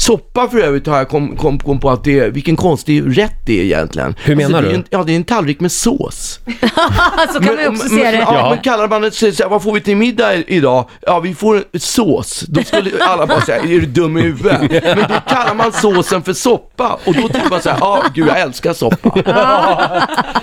Soppa för övrigt har jag kom, kom, kom på att det är, vilken konstig rätt det är egentligen. Alltså, Hur menar det är du? En, ja, det är en tallrik med sås. så Alltså kan man ju också se det. Ja, Ja. men kallar man det så, så, här, vad får vi till middag i- idag? Ja, vi får sås. Då skulle alla bara säga, är du dum i huvudet? Men då kallar man såsen för soppa och då tycker man så här, ja, gud jag älskar soppa.